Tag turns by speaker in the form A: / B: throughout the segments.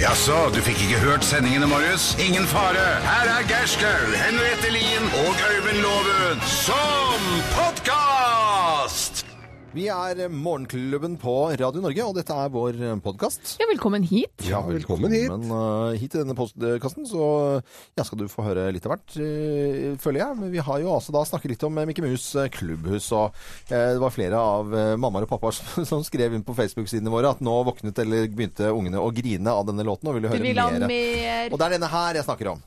A: Jaså, du fikk ikke hørt sendingene, Marius? Ingen fare. Her er Gerskaug, Henriette Lien og Øyvind Loven som podkast!
B: Vi er Morgenklubben på Radio Norge, og dette er vår podkast.
C: Ja, velkommen hit.
B: Ja,
D: velkommen hit.
B: Men hit til denne postkassen, så ja, skal du få høre litt av hvert, eh, føler jeg. Men vi har jo altså da snakket litt om eh, Mikke Mus eh, klubbhus, og eh, det var flere av eh, mammaer og pappaer som, som skrev inn på Facebook-sidene våre at nå våknet eller begynte ungene å grine av denne låten og ville høre
C: Vi vil ha
B: mer.
C: mer.
B: Og det er denne her jeg snakker om.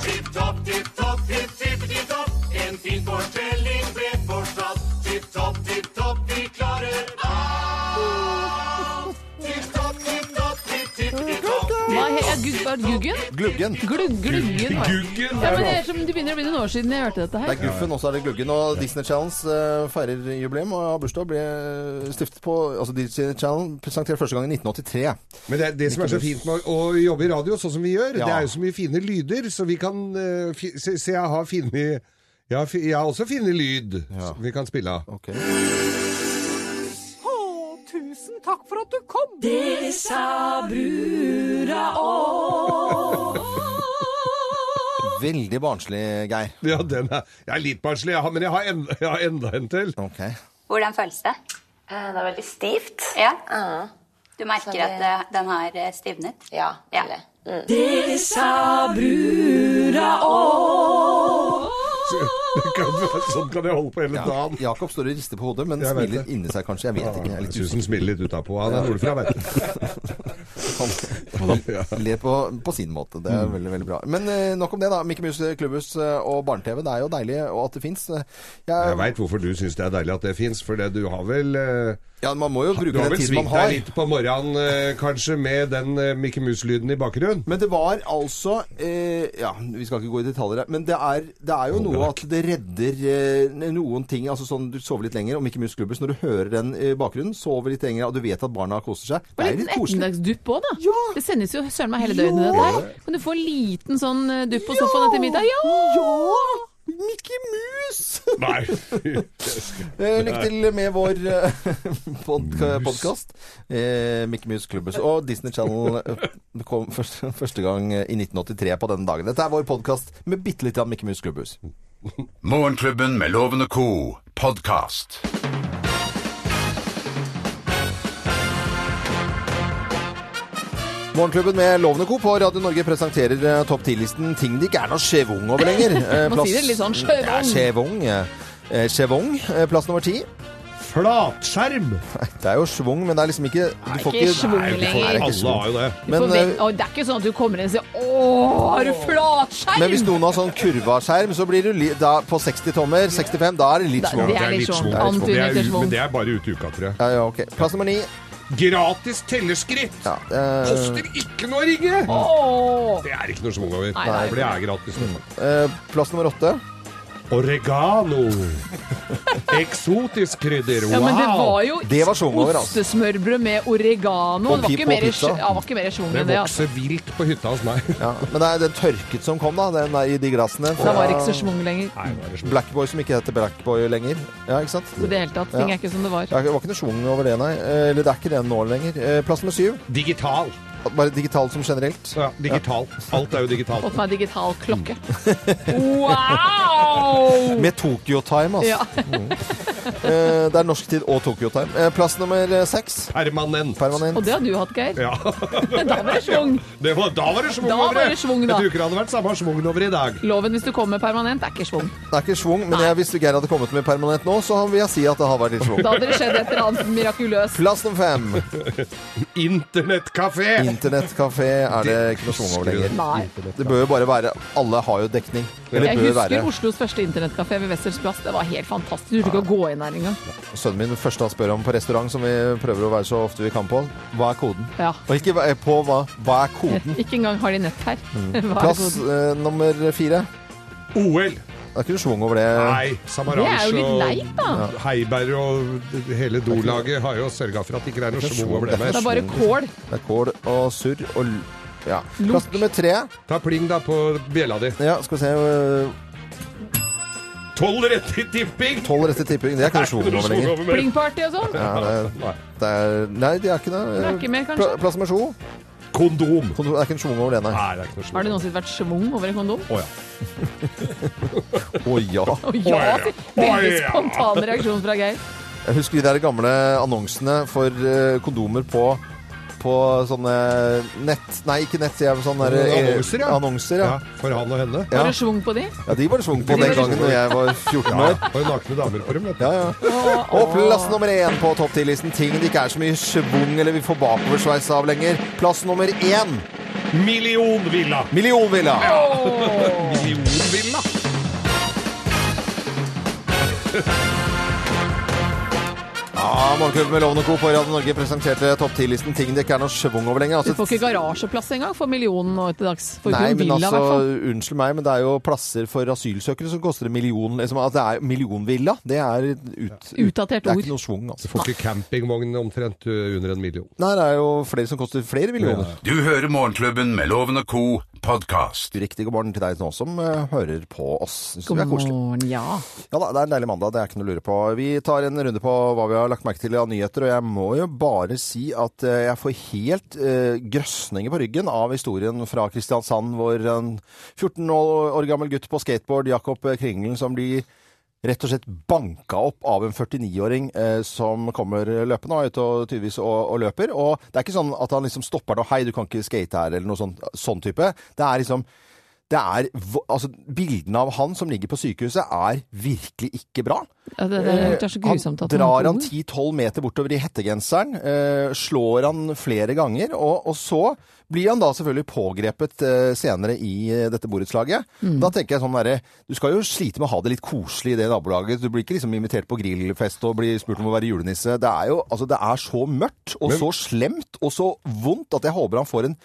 E: Tipp topp, tipp topp, tipp tipp tipp topp. En fin fortelling bredt forstått. Tipp topp, tipp topp, vi klarer alt. Tipp topp, tipp topp, tipp tipp tipp topp.
C: Hva he- ja, gugg- var det Guggen?
B: Gluggen.
C: Glugg, gluggen. var det. Ja, men det er som det begynner å bli noen år siden jeg hørte dette
B: Det
C: her.
B: er Guffen, og så er det Gluggen. Og Disney Challenge eh, feirer jubileum og har bursdag. Ble stiftet på Altså Disney Challenge presentert første gang i 1983.
D: Men det, er det som er så fint med å, å jobbe i radio, sånn som vi gjør,
B: Ja.
D: det er jo så mye fine lyder, så vi kan eh, fi, se, se, jeg har fine jeg har, fi- jeg har også fine lyd som vi kan spille av.
B: Ok.
F: Tusen takk for at du kom!
B: Veldig barnslig, Geir.
D: Ja, den er, jeg er litt barnslig, jeg har, men jeg har, en, jeg har enda en til.
B: Ok.
G: Hvordan føles det?
H: Eh, Det er veldig stivt.
G: Ja?
H: Ah,
G: Du merker
H: Så det-
G: at eh, den har eh, stivnet?
H: ja,
G: Ja.
I: Eh,
H: veldig.
D: Kan- Sånn kan jeg holde på hele dagen.
B: Jakob står og rister på hodet, men
D: Jeg vet
B: smiler
D: det.
B: inni seg kanskje. Jeg vet ikke. Jeg er litt
D: Susan smiler litt utapå. Han er nordfra, vet du.
B: usikker. Han ler på, på sin måte. Det
D: Mm.
B: er veldig veldig bra. Men eh, nok om det, da. Mikke Mus, Klubbhus eh, og Barne-TV. Det er jo deilig og at det Eh, fins.
D: Jeg veit hvorfor du syns det er deilig at det fins, for det, du har vel eh,
B: Ja, man må jo
D: Du
B: bruke
D: har
B: den
D: vel
B: tiden man
D: svingt deg
B: har.
D: litt på morgenen, eh, kanskje, med den eh, Mikke Mus-lyden i bakgrunnen?
B: Men det var altså eh, Ja, vi skal ikke gå i detaljer her. Men det er, det er jo noe at det redder eh, noen ting. Altså sånn du sover litt lenger, om ikke Mus Klubbhus, når du hører den eh, bakgrunnen, sover litt lenger, og du vet at barna koser seg.
C: Og
B: Det
C: en
B: er
C: liten
B: litt koselig.
C: ettermiddagsdupp òg, da.
B: Ja.
C: Det sendes jo søren meg hele
B: Ja.
C: døgnet, dette her. Kan du få en liten sånn eh, dupp på sofaen etter middag? Ja!
B: Ja! Mikke Mus!
D: Nei.
B: Eh, Lykke til med vår eh, podka podkast. Eh, Mikke Mus Klubbhus og Disney Channel eh, kom første, første gang eh, i 1983 på denne dagen. Dette er vår podkast med bitte litt av Mikke Mus Klubbhus.
A: Morgenklubben med Loven og co. podkast.
B: Morgenklubben med Lovende Co. på Radio Norge presenterer eh, topp 10-listen ting det ikke er noe skjevung over lenger. Eh,
C: Man sier det litt sånn, skjevung.
B: Ja, skjevung. Eh, skjevung, eh, plass nummer ti.
D: Flatskjerm!
B: Det er jo schwung, men det er liksom ikke Du får
C: ikke schwung
B: Nei, du får-
C: lenger.
B: det er ikke
D: Alle
B: schwung.
D: har jo det.
C: Men,
B: Men, eh,
C: og det er ikke sånn at du kommer inn og sier 'Å, har du flatskjerm?'
B: men hvis noen har sånn kurvaskjerm, så blir du li da, på 60 tommer, 65, da er det litt
C: Da-
B: schwung.
C: det er litt sånn antunitter-schwung.
D: Men det er bare ute i uka, tror jeg.
B: Ja, ja, ok. Plass nummer ni.
D: Gratis telleskritt!
B: Ja, eh,
D: Koster ikke noe å ringe!
C: Åh.
D: Det er ikke noe schwung over.
C: Nei, nei.
D: For det er gratis. nå.
B: eh, plass nummer åtte.
D: Oregano! Eksotisk krydder. Wow!
C: Ja, men det var jo
B: Det var schwung over, altså.
C: ostesmørbrød med oregano.
B: Og
C: Det var
B: pi-
C: ikke
B: på
C: mer,
B: pizza.
C: ja, det var ikke mer schwung
D: Det
C: enn det. Altså.
D: vokser vilt på hytta hos meg.
B: Ja, men det er den tørket som kom, da. Den er i de glassene.
C: Da var det ikke
B: fra
C: så schwung lenger.
D: Nei, det er schwung.
B: Blackboy som ikke heter Blackboy lenger. Ja, ikke sant?
C: I det hele tatt. Ting er ikke som det var.
B: Det var ikke noe schwung over det, nei. Eh, Eller det er ikke det nå lenger. Eh, Plass nummer syv.
D: Digital.
B: Bare digitalt som generelt.
D: Ja, digital. Alt er jo digitalt.
C: Fått meg digital klokke.
B: Mm.
C: Wow!
B: Med Tokyo-time, altså.
C: Ja.
B: Eh, Det er norsk tid og Tokyo-time. Eh, Plass nummer eh, seks.
D: Permanent.
B: Permanent.
C: Og det har du hatt, Geir.
D: Ja.
C: Da var det schwung.
D: Det var, da var det schwung
C: Da
D: over.
C: var det schwung, da.
D: Jeg tror ikke det hadde vært samme schwung over i dag.
C: Loven hvis du kommer permanent er ikke schwung.
B: Det er ikke schwung, men jeg, hvis Geir hadde kommet med permanent nå, så vil jeg si at det har vært litt schwung.
C: Da hadde det skjedd et eller annet mirakuløst.
B: Plass nummer fem.
D: Internettkafé!
B: Internettkafé er det ikke noe schwung over lenger.
C: Nei.
B: Det bør jo bare være Alle har jo dekning. Eller
C: Jeg
B: bør
C: husker
B: være.
C: Oslos første internettkafé ved Wessels plass. Det var helt fantastisk. Du turte ikke å gå inn der engang.
B: Sønnen min første han spør om på restaurant, som vi prøver å være så ofte vi kan på, hva er koden?
C: Ja.
B: Og ikke hva- på hva, hva er koden?
C: Ikke engang har de nett her. Hva er
B: Mm. Plass
C: koden?
B: eh, nummer fire.
D: OL!
B: Det er ikke noe schwung over det.
D: Nei,
C: Det er jo
D: Samaranch
C: litt
D: og
C: leit, da.
D: Heiberg og hele dolaget har jo sørga for at det ikke er noe schwung over det
C: Det
D: mer.
C: er bare kål.
B: Det er kål og surr og l... Ja. Plass nummer tre. eh,
D: Ta pling, da, på bjella di.
B: Ja, skal vi se øh,
J: Tolv rette i tipping!
B: Tolv rette tipping, det er ikke noe
J: Ikke
B: sjon
J: noe
B: over lenger.
J: over mer.
C: Blingparty og sånn.
B: Ja, det, det er, nei, det er ikke det.
C: Det er ikke mer, kanskje?
B: Pla- Plass med sjo.
J: Kondom!
B: Kontro- Det er ikke en sjung over det, nei.
J: Nei, det er ikke noe
C: Har
J: slår.
C: det noensinne vært schwung over en kondom?
J: Å ja.
B: Å ja.
C: Å ja!
J: Å, ja.
C: sier- Veldig
J: Å, ja.
C: spontan reaksjon fra Geir.
B: Jeg husker de der gamle annonsene for eh, kondomer på på sånne nett Nei, ikke nett, sier jeg. men Sånne der, eh,
D: Annonser, ja.
B: Annonser, ja.
D: Ja, for han og henne.
B: Ja.
C: Var det schwung på de?
B: ja de var det svung på
C: De
B: den
C: var det
B: gangen
D: svung
B: da
D: på.
B: jeg var 14 år.
D: Og nakne damer for dem, vet du.
B: Ja, ja. Og plass nummer én på topp 10-listen. Ting det ikke er så mye schwung eller vi får bakoversveis av lenger. Plass nummer én.
J: Millionvilla!
B: Millionvilla.
J: Millionvilla!
B: Ja, Morgenklubben med Lovende Co. på Radio Norge presenterte topp 10-listen ting det ikke er noe schwung over lenger.
C: Du
B: Altså,
C: får ikke garasjeplass engang for millionen nå til dags. For
B: Nei, men
C: villa, i
B: altså,
C: hvert fall.
B: unnskyld meg, men det er jo plasser for asylsøkere som koster en million. Liksom, at det er millionvilla, det er et ut,
C: Utdatert
B: Det er
C: ord.
B: ikke noe svung, altså.
D: Får ikke campingvogn omtrent uh, under en million.
B: Nei, det er jo flere som koster flere millioner.
A: Du hører Morgenklubben med Loven og Co. podkast.
B: Riktig god morgen til deg nå som eh, hører på oss. Synes vi er koselig.
C: morgen, ja.
B: Ja da, det er en deilig mandag, det er ikke noe å lure på. Vi tar en runde på hva vi har lagt merke til av nyheter, og jeg må jo bare si at eh, jeg får helt eh, grøsninger på ryggen av historien fra Kristiansand, hvor en 14 år gammel gutt på skateboard, Jakob Kringlen, som blir rett og slett banka opp av en 49-åring eh, som kommer løpende og er ute og tydeligvis og, og løper. Og det er ikke sånn at han liksom stopper nå, hei, du kan ikke skate her, eller noe sånt, sånn type. Det er liksom det er, vo- altså, Bildene av han som ligger på sykehuset, er virkelig ikke bra.
C: ja det, det, det er så grusomt
B: Eh, han
C: at han
B: drar han
C: bor.
B: 10-12 meter bortover i hettegenseren, eh, slår han flere ganger, og, og så blir han da selvfølgelig pågrepet eh, senere i eh, dette borettslaget.
C: Mm.
B: Da tenker jeg sånn derre Du skal jo slite med å ha det litt koselig i det nabolaget. Du blir ikke liksom invitert på grillfest og blir spurt om å være julenisse. Det er jo altså, det er så mørkt og så slemt og så vondt at jeg håper han får en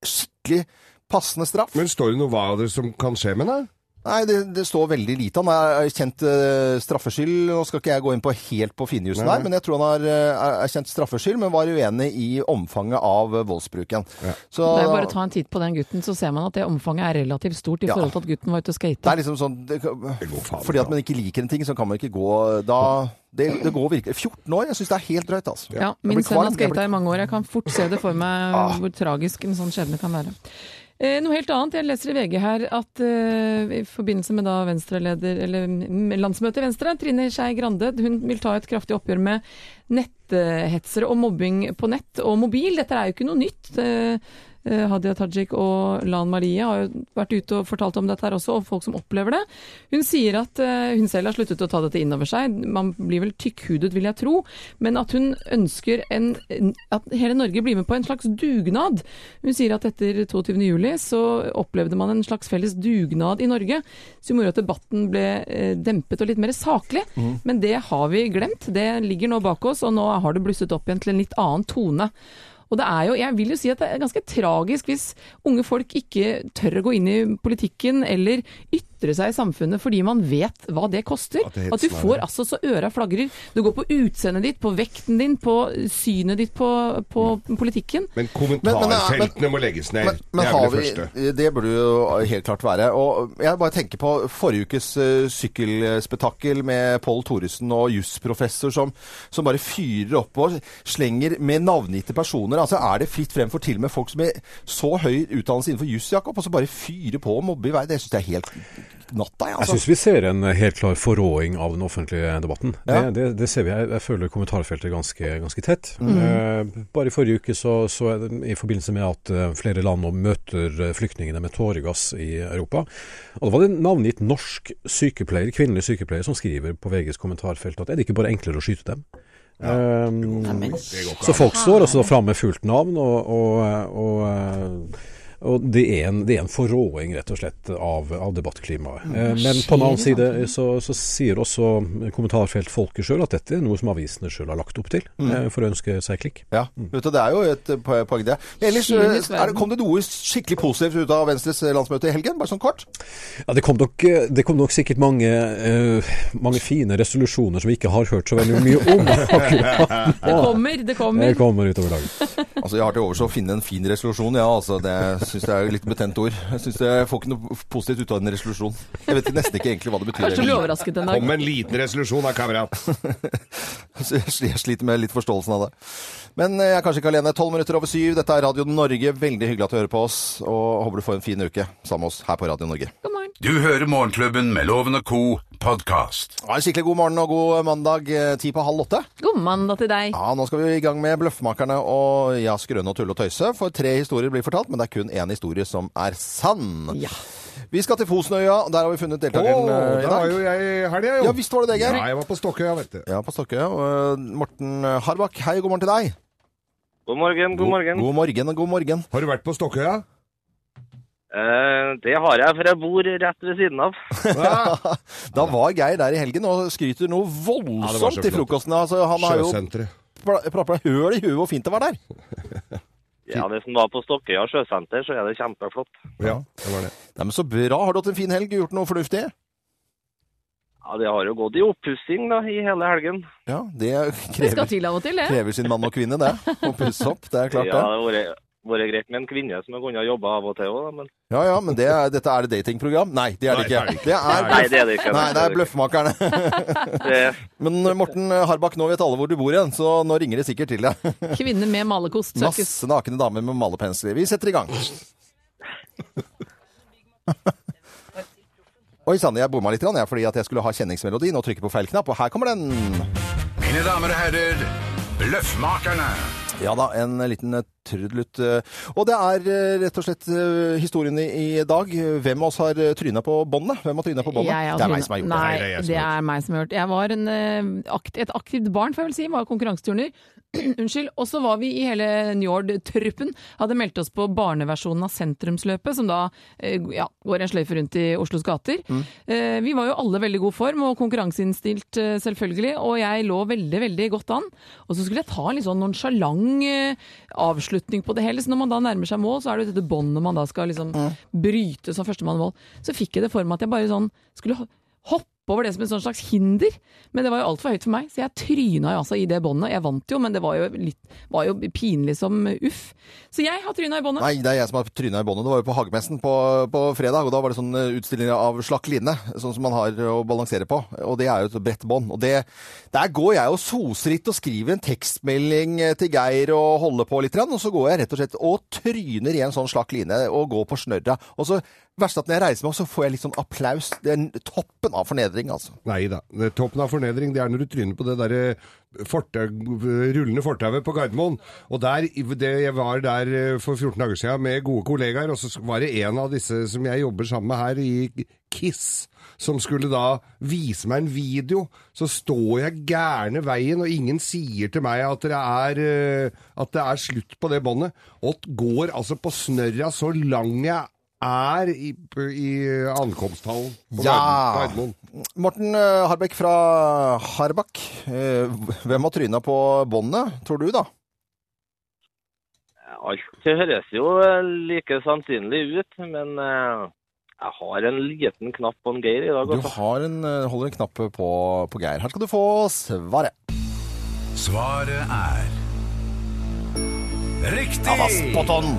B: skikkelig passende straff.
D: Men står det noe hva det som kan skje med deg?
B: Nei, det, det står veldig lite. Han er erkjent eh, straffskyld. Nå skal ikke jeg gå inn på helt på finjussen
D: Nei,
B: her, men jeg tror han har eh, erkjent straffskyld, men var uenig i omfanget av eh, voldsbruken. Så,
C: Det er bare å ta en titt på den gutten, så ser man at det omfanget er relativt stort i
B: Ja.
C: forhold til at gutten var ute og
B: det
C: skate.
B: er liksom sånn det,
D: går faen
B: Fordi
D: bra.
B: at man ikke liker en ting, så kan man ikke gå da Det, det går virkelig 14 år, jeg syns det er helt drøyt, altså.
C: Ja,
B: Jeg blir
C: min sønn har
B: kvalm, jeg blir-
C: skata i mange år. Jeg kan fort se det for meg
B: Ah.
C: hvor tragisk en sånn skjebne kan være. Eh, noe helt annet. Jeg leser i VG her at eh, i forbindelse med da Venstre-leder, eller mm, landsmøtet i Venstre, Trine Skei Grande, hun vil ta et kraftig oppgjør med netthetsere og mobbing på nett og mobil. Dette er jo ikke noe nytt. Eh, eh, Hadia Tajik og Lan Marie har jo vært ute og fortalt om dette her også, og folk som opplever det. Hun sier at eh, hun selv har sluttet å ta dette inn over seg. Man blir vel tykkhudet, vil jeg tro. Men at hun ønsker en, at hele Norge blir med på en slags dugnad. Hun sier at etter 22.07 så opplevde man en slags felles dugnad i Norge, som gjorde at debatten ble eh, dempet og litt mer saklig. Men det har vi glemt. Det ligger nå bak oss, og nå har det blusset opp igjen til en litt annen tone. Og det er jo, jeg vil jo si at det er ganske tragisk hvis unge folk ikke tør å gå inn i politikken eller ytre seg i samfunnet fordi man vet hva det koster.
D: At
C: At,
D: det er helt
C: du får altså så øra flagrer. Du går på utseendet ditt, på vekten din, på synet ditt på, på politikken.
D: Men
B: Men- men-
D: kommentarfeltene må legges ned.
B: Men, men
D: det er
B: har
D: vel det første.
B: vi, det burde jo helt klart være. Og jeg bare tenker på forrige ukes eh, sykkelspetakkel med Pål Thoresen og jusprofessor som, som bare fyrer opp og slenger med navngitte personer. Altså er det fritt frem for til og med folk som er så høy utdannelse innenfor juss, Jakob, og så bare fyrer på og mobber i vei. Det syns jeg er helt natta, jeg.
K: Jeg
B: Altså.
K: syns vi ser en eh, helt klar forråing av den offentlige debatten.
B: Ja.
K: Det, det, det ser vi. Jeg, jeg føler kommentarfeltet ganske, ganske tett.
B: Mm.
K: Eh, bare i forrige uke så, så jeg det i forbindelse med at eh, flere land nå møter eh, flyktningene med tåregass i Europa. Og da var det en navngitt norsk sykepleier, kvinnelig sykepleier som skriver på VGs kommentarfelt at er det ikke bare enklere å skyte dem? Eh, så folk står altså da fram med fullt navn, og, og, og, og det, er en, det er en forråing, rett og slett, av, av debattklimaet. Eh, Men på den annen side så, så sier også kommentarfeltfolket sjøl at dette er noe som avisene sjøl har lagt opp til, eh, for å ønske seg klikk.
B: Ja,
D: Mm.
B: vet du, det er jo et eh, po- poeng, det. Men Ellers eh,
C: Skynes verden.
B: er det, kom det noe skikkelig positivt ut av Venstres landsmøte i helgen, bare sånn kort?
K: Ja, det, kom nok, eh, det kom nok sikkert mange, eh, mange fine resolusjoner som vi ikke har hørt så veldig mye om. akkurat nå.
C: Det kommer, det kommer.
K: Det kommer utover dagen.
B: Altså, Altså, jeg har til overs å finne en fin resolusjon, ja. Altså, det syns jeg er et litt betent ord. Jeg syns jeg får ikke noe positivt ut av en resolusjon. Jeg vet nesten ikke egentlig hva det betyr.
C: Kanskje du blir overrasket en dag.
D: Kom med en liten resolusjon da, kamerat.
B: Så jeg sli- jeg sliter med litt forståelsen av det. Men eh, jeg er kanskje ikke alene. Tolv minutter over syv. Dette er Radio Norge. Veldig hyggelig at du hører på oss, og håper du får en fin uke sammen med oss her på Radio Norge.
A: Du hører Morgenklubben med Loven og Co. podkast.
B: Ha en skikkelig god morgen og god mandag. eh, Ti på halv åtte.
C: God mandag til deg.
B: Ja, Nå skal vi i gang med Bløffmakerne og Ja, skrøne og tulle og tøyse. For tre historier blir fortalt, men det er kun én historie som er sann. Vi skal til Fosenøya. Der har vi funnet deltakeren
D: Åh,
B: eh, i
D: da var
B: dag.
D: jo jeg i helga, jo.
B: Ja, visst var det det, Geir.
D: Ja, jeg var på Stokkøya, vet du.
B: Ja, på Stokkøya. Og eh, Morten Harbakk, hei, god morgen til deg.
L: God morgen, god morgen.
B: God morgen og god morgen.
D: Har du vært på Stokkøya?
L: Eh, det har jeg, for jeg bor rett ved siden av.
B: Da var Geir der i helgen og skryter noe
D: Ja, det var
B: voldsomt
D: så
B: til
D: flott.
B: frokosten. Altså, han har jo
D: Sjøsenteret.
B: pla- prappa høl i huet hvor fint det var der.
L: Ja, Hvis en var på Stokkøya sjøsenter, så er det kjempeflott.
D: Ja, det var det.
B: Nei, men Så bra. Har du hatt en fin helg og gjort noe fornuftig?
L: Ja, Det har jo gått i oppussing da, i hele helgen.
B: Ja, det
C: Det skal
B: krever,
C: til av og til, det.
B: krever sin mann og kvinne, det. Å pusse opp. Det er klart, det.
L: ja, det har vært- vært greit med en kvinne som jeg kunne ha jobba av og til òg, men
B: Ja, ja, men det er, dette er det datingprogram? Nei, det er det
D: Nei,
B: ikke. Det er,
L: Nei, det er det ikke.
B: Nei, det er
L: det
B: bløffmakerne.
L: ikke.
B: Men eh, Morten Harbakk, nå vet alle hvor du bor igjen, så nå ringer det sikkert til deg.
C: Kvinner med malekost søkes.
B: Masse nakne damer med malerpensler. Vi setter i gang. Oi sann, jeg bomma litt grann, jeg, fordi at jeg skulle ha kjenningsmelodien og trykke på feil knapp, og her kommer den.
A: Mine damer og herrer, Bløffmakerne.
B: Ja da, en liten eh, trudelutt. eh. Og det er eh, rett og slett eh, historien i i dag. Hvem av oss har eh, tryna på båndet? Hvem har tryna på båndet?
C: Jeg har
B: Det er
C: trynet.
B: meg som har gjort det.
D: Nei, det er
C: Nei,
D: jeg som
C: det
D: har
C: er meg som har gjort det. Jeg var en, eh, akt, et aktivt barn, får jeg vel si. Var konkurranseturner. Unnskyld. Og så var vi i hele Njord-truppen. Hadde meldt oss på barneversjonen av Sentrumsløpet, som da eh, ja, går en sløyfe rundt i Oslos gater. Eh, vi var jo alle veldig god form, og konkurranseinnstilt eh, selvfølgelig. Og jeg lå veldig, veldig godt an. Og så skulle jeg ta en litt sånn nonsjalant eh, avslutning på det hele. Så når man da nærmer seg mål, så er det jo dette båndet man da skal liksom bryte som førstemann i mål. Så fikk jeg det for meg at jeg bare sånn skulle ho- hoppe over det som en sånn slags hinder. Men det var jo altfor høyt for meg, så jeg tryna jo altså i det båndet. Jeg vant jo, men det var jo, litt, var jo pinlig som uff. Så jeg har tryna i båndet.
B: Nei, det er jeg som har tryna i båndet. Det var jo på Hagemessen på, på fredag, og da var det sånn eh, utstilling av slakk line, sånn som man har å balansere på. Og det er jo et bredt bånd. Og det, der går jeg og soser litt og skriver en tekstmelding eh, til Geir og holder på litt, grann, og så går jeg rett og slett og tryner i en sånn slakk line og går på snørra. Og så verst at når jeg reiser meg, så får jeg litt sånn applaus. Det er toppen av fornedring, altså.
D: Nei da. Det- Toppen av fornedring det er når du tryner på det derre fortau, rullende fortauet på Gardermoen. Og der, det, Jeg var der eh, for 14 dager siden med gode kollegaer, og så var det en av disse som jeg jobber sammen med her i Kiss, som skulle da vise meg en video. Så står jeg gærne veien, og ingen sier til meg at det er, eh, at det er slutt på det båndet. Og går altså på snørra så lang jeg er i, i ankomsthallen på
B: Ja.
D: Gardermoen.
B: Morten eh, Harbekk fra Harbakk, eh, hvem har tryna på båndet, tror du, da?
L: Alt høres jo eh, like sannsynlig ut, men eh, jeg har en liten knapp på en Geir i dag.
B: Du
L: altså.
B: har en, eh, holder en knapp på, på Geir. Her skal du få svaret.
A: Svaret er Riktig!
B: Ja, da, spot on!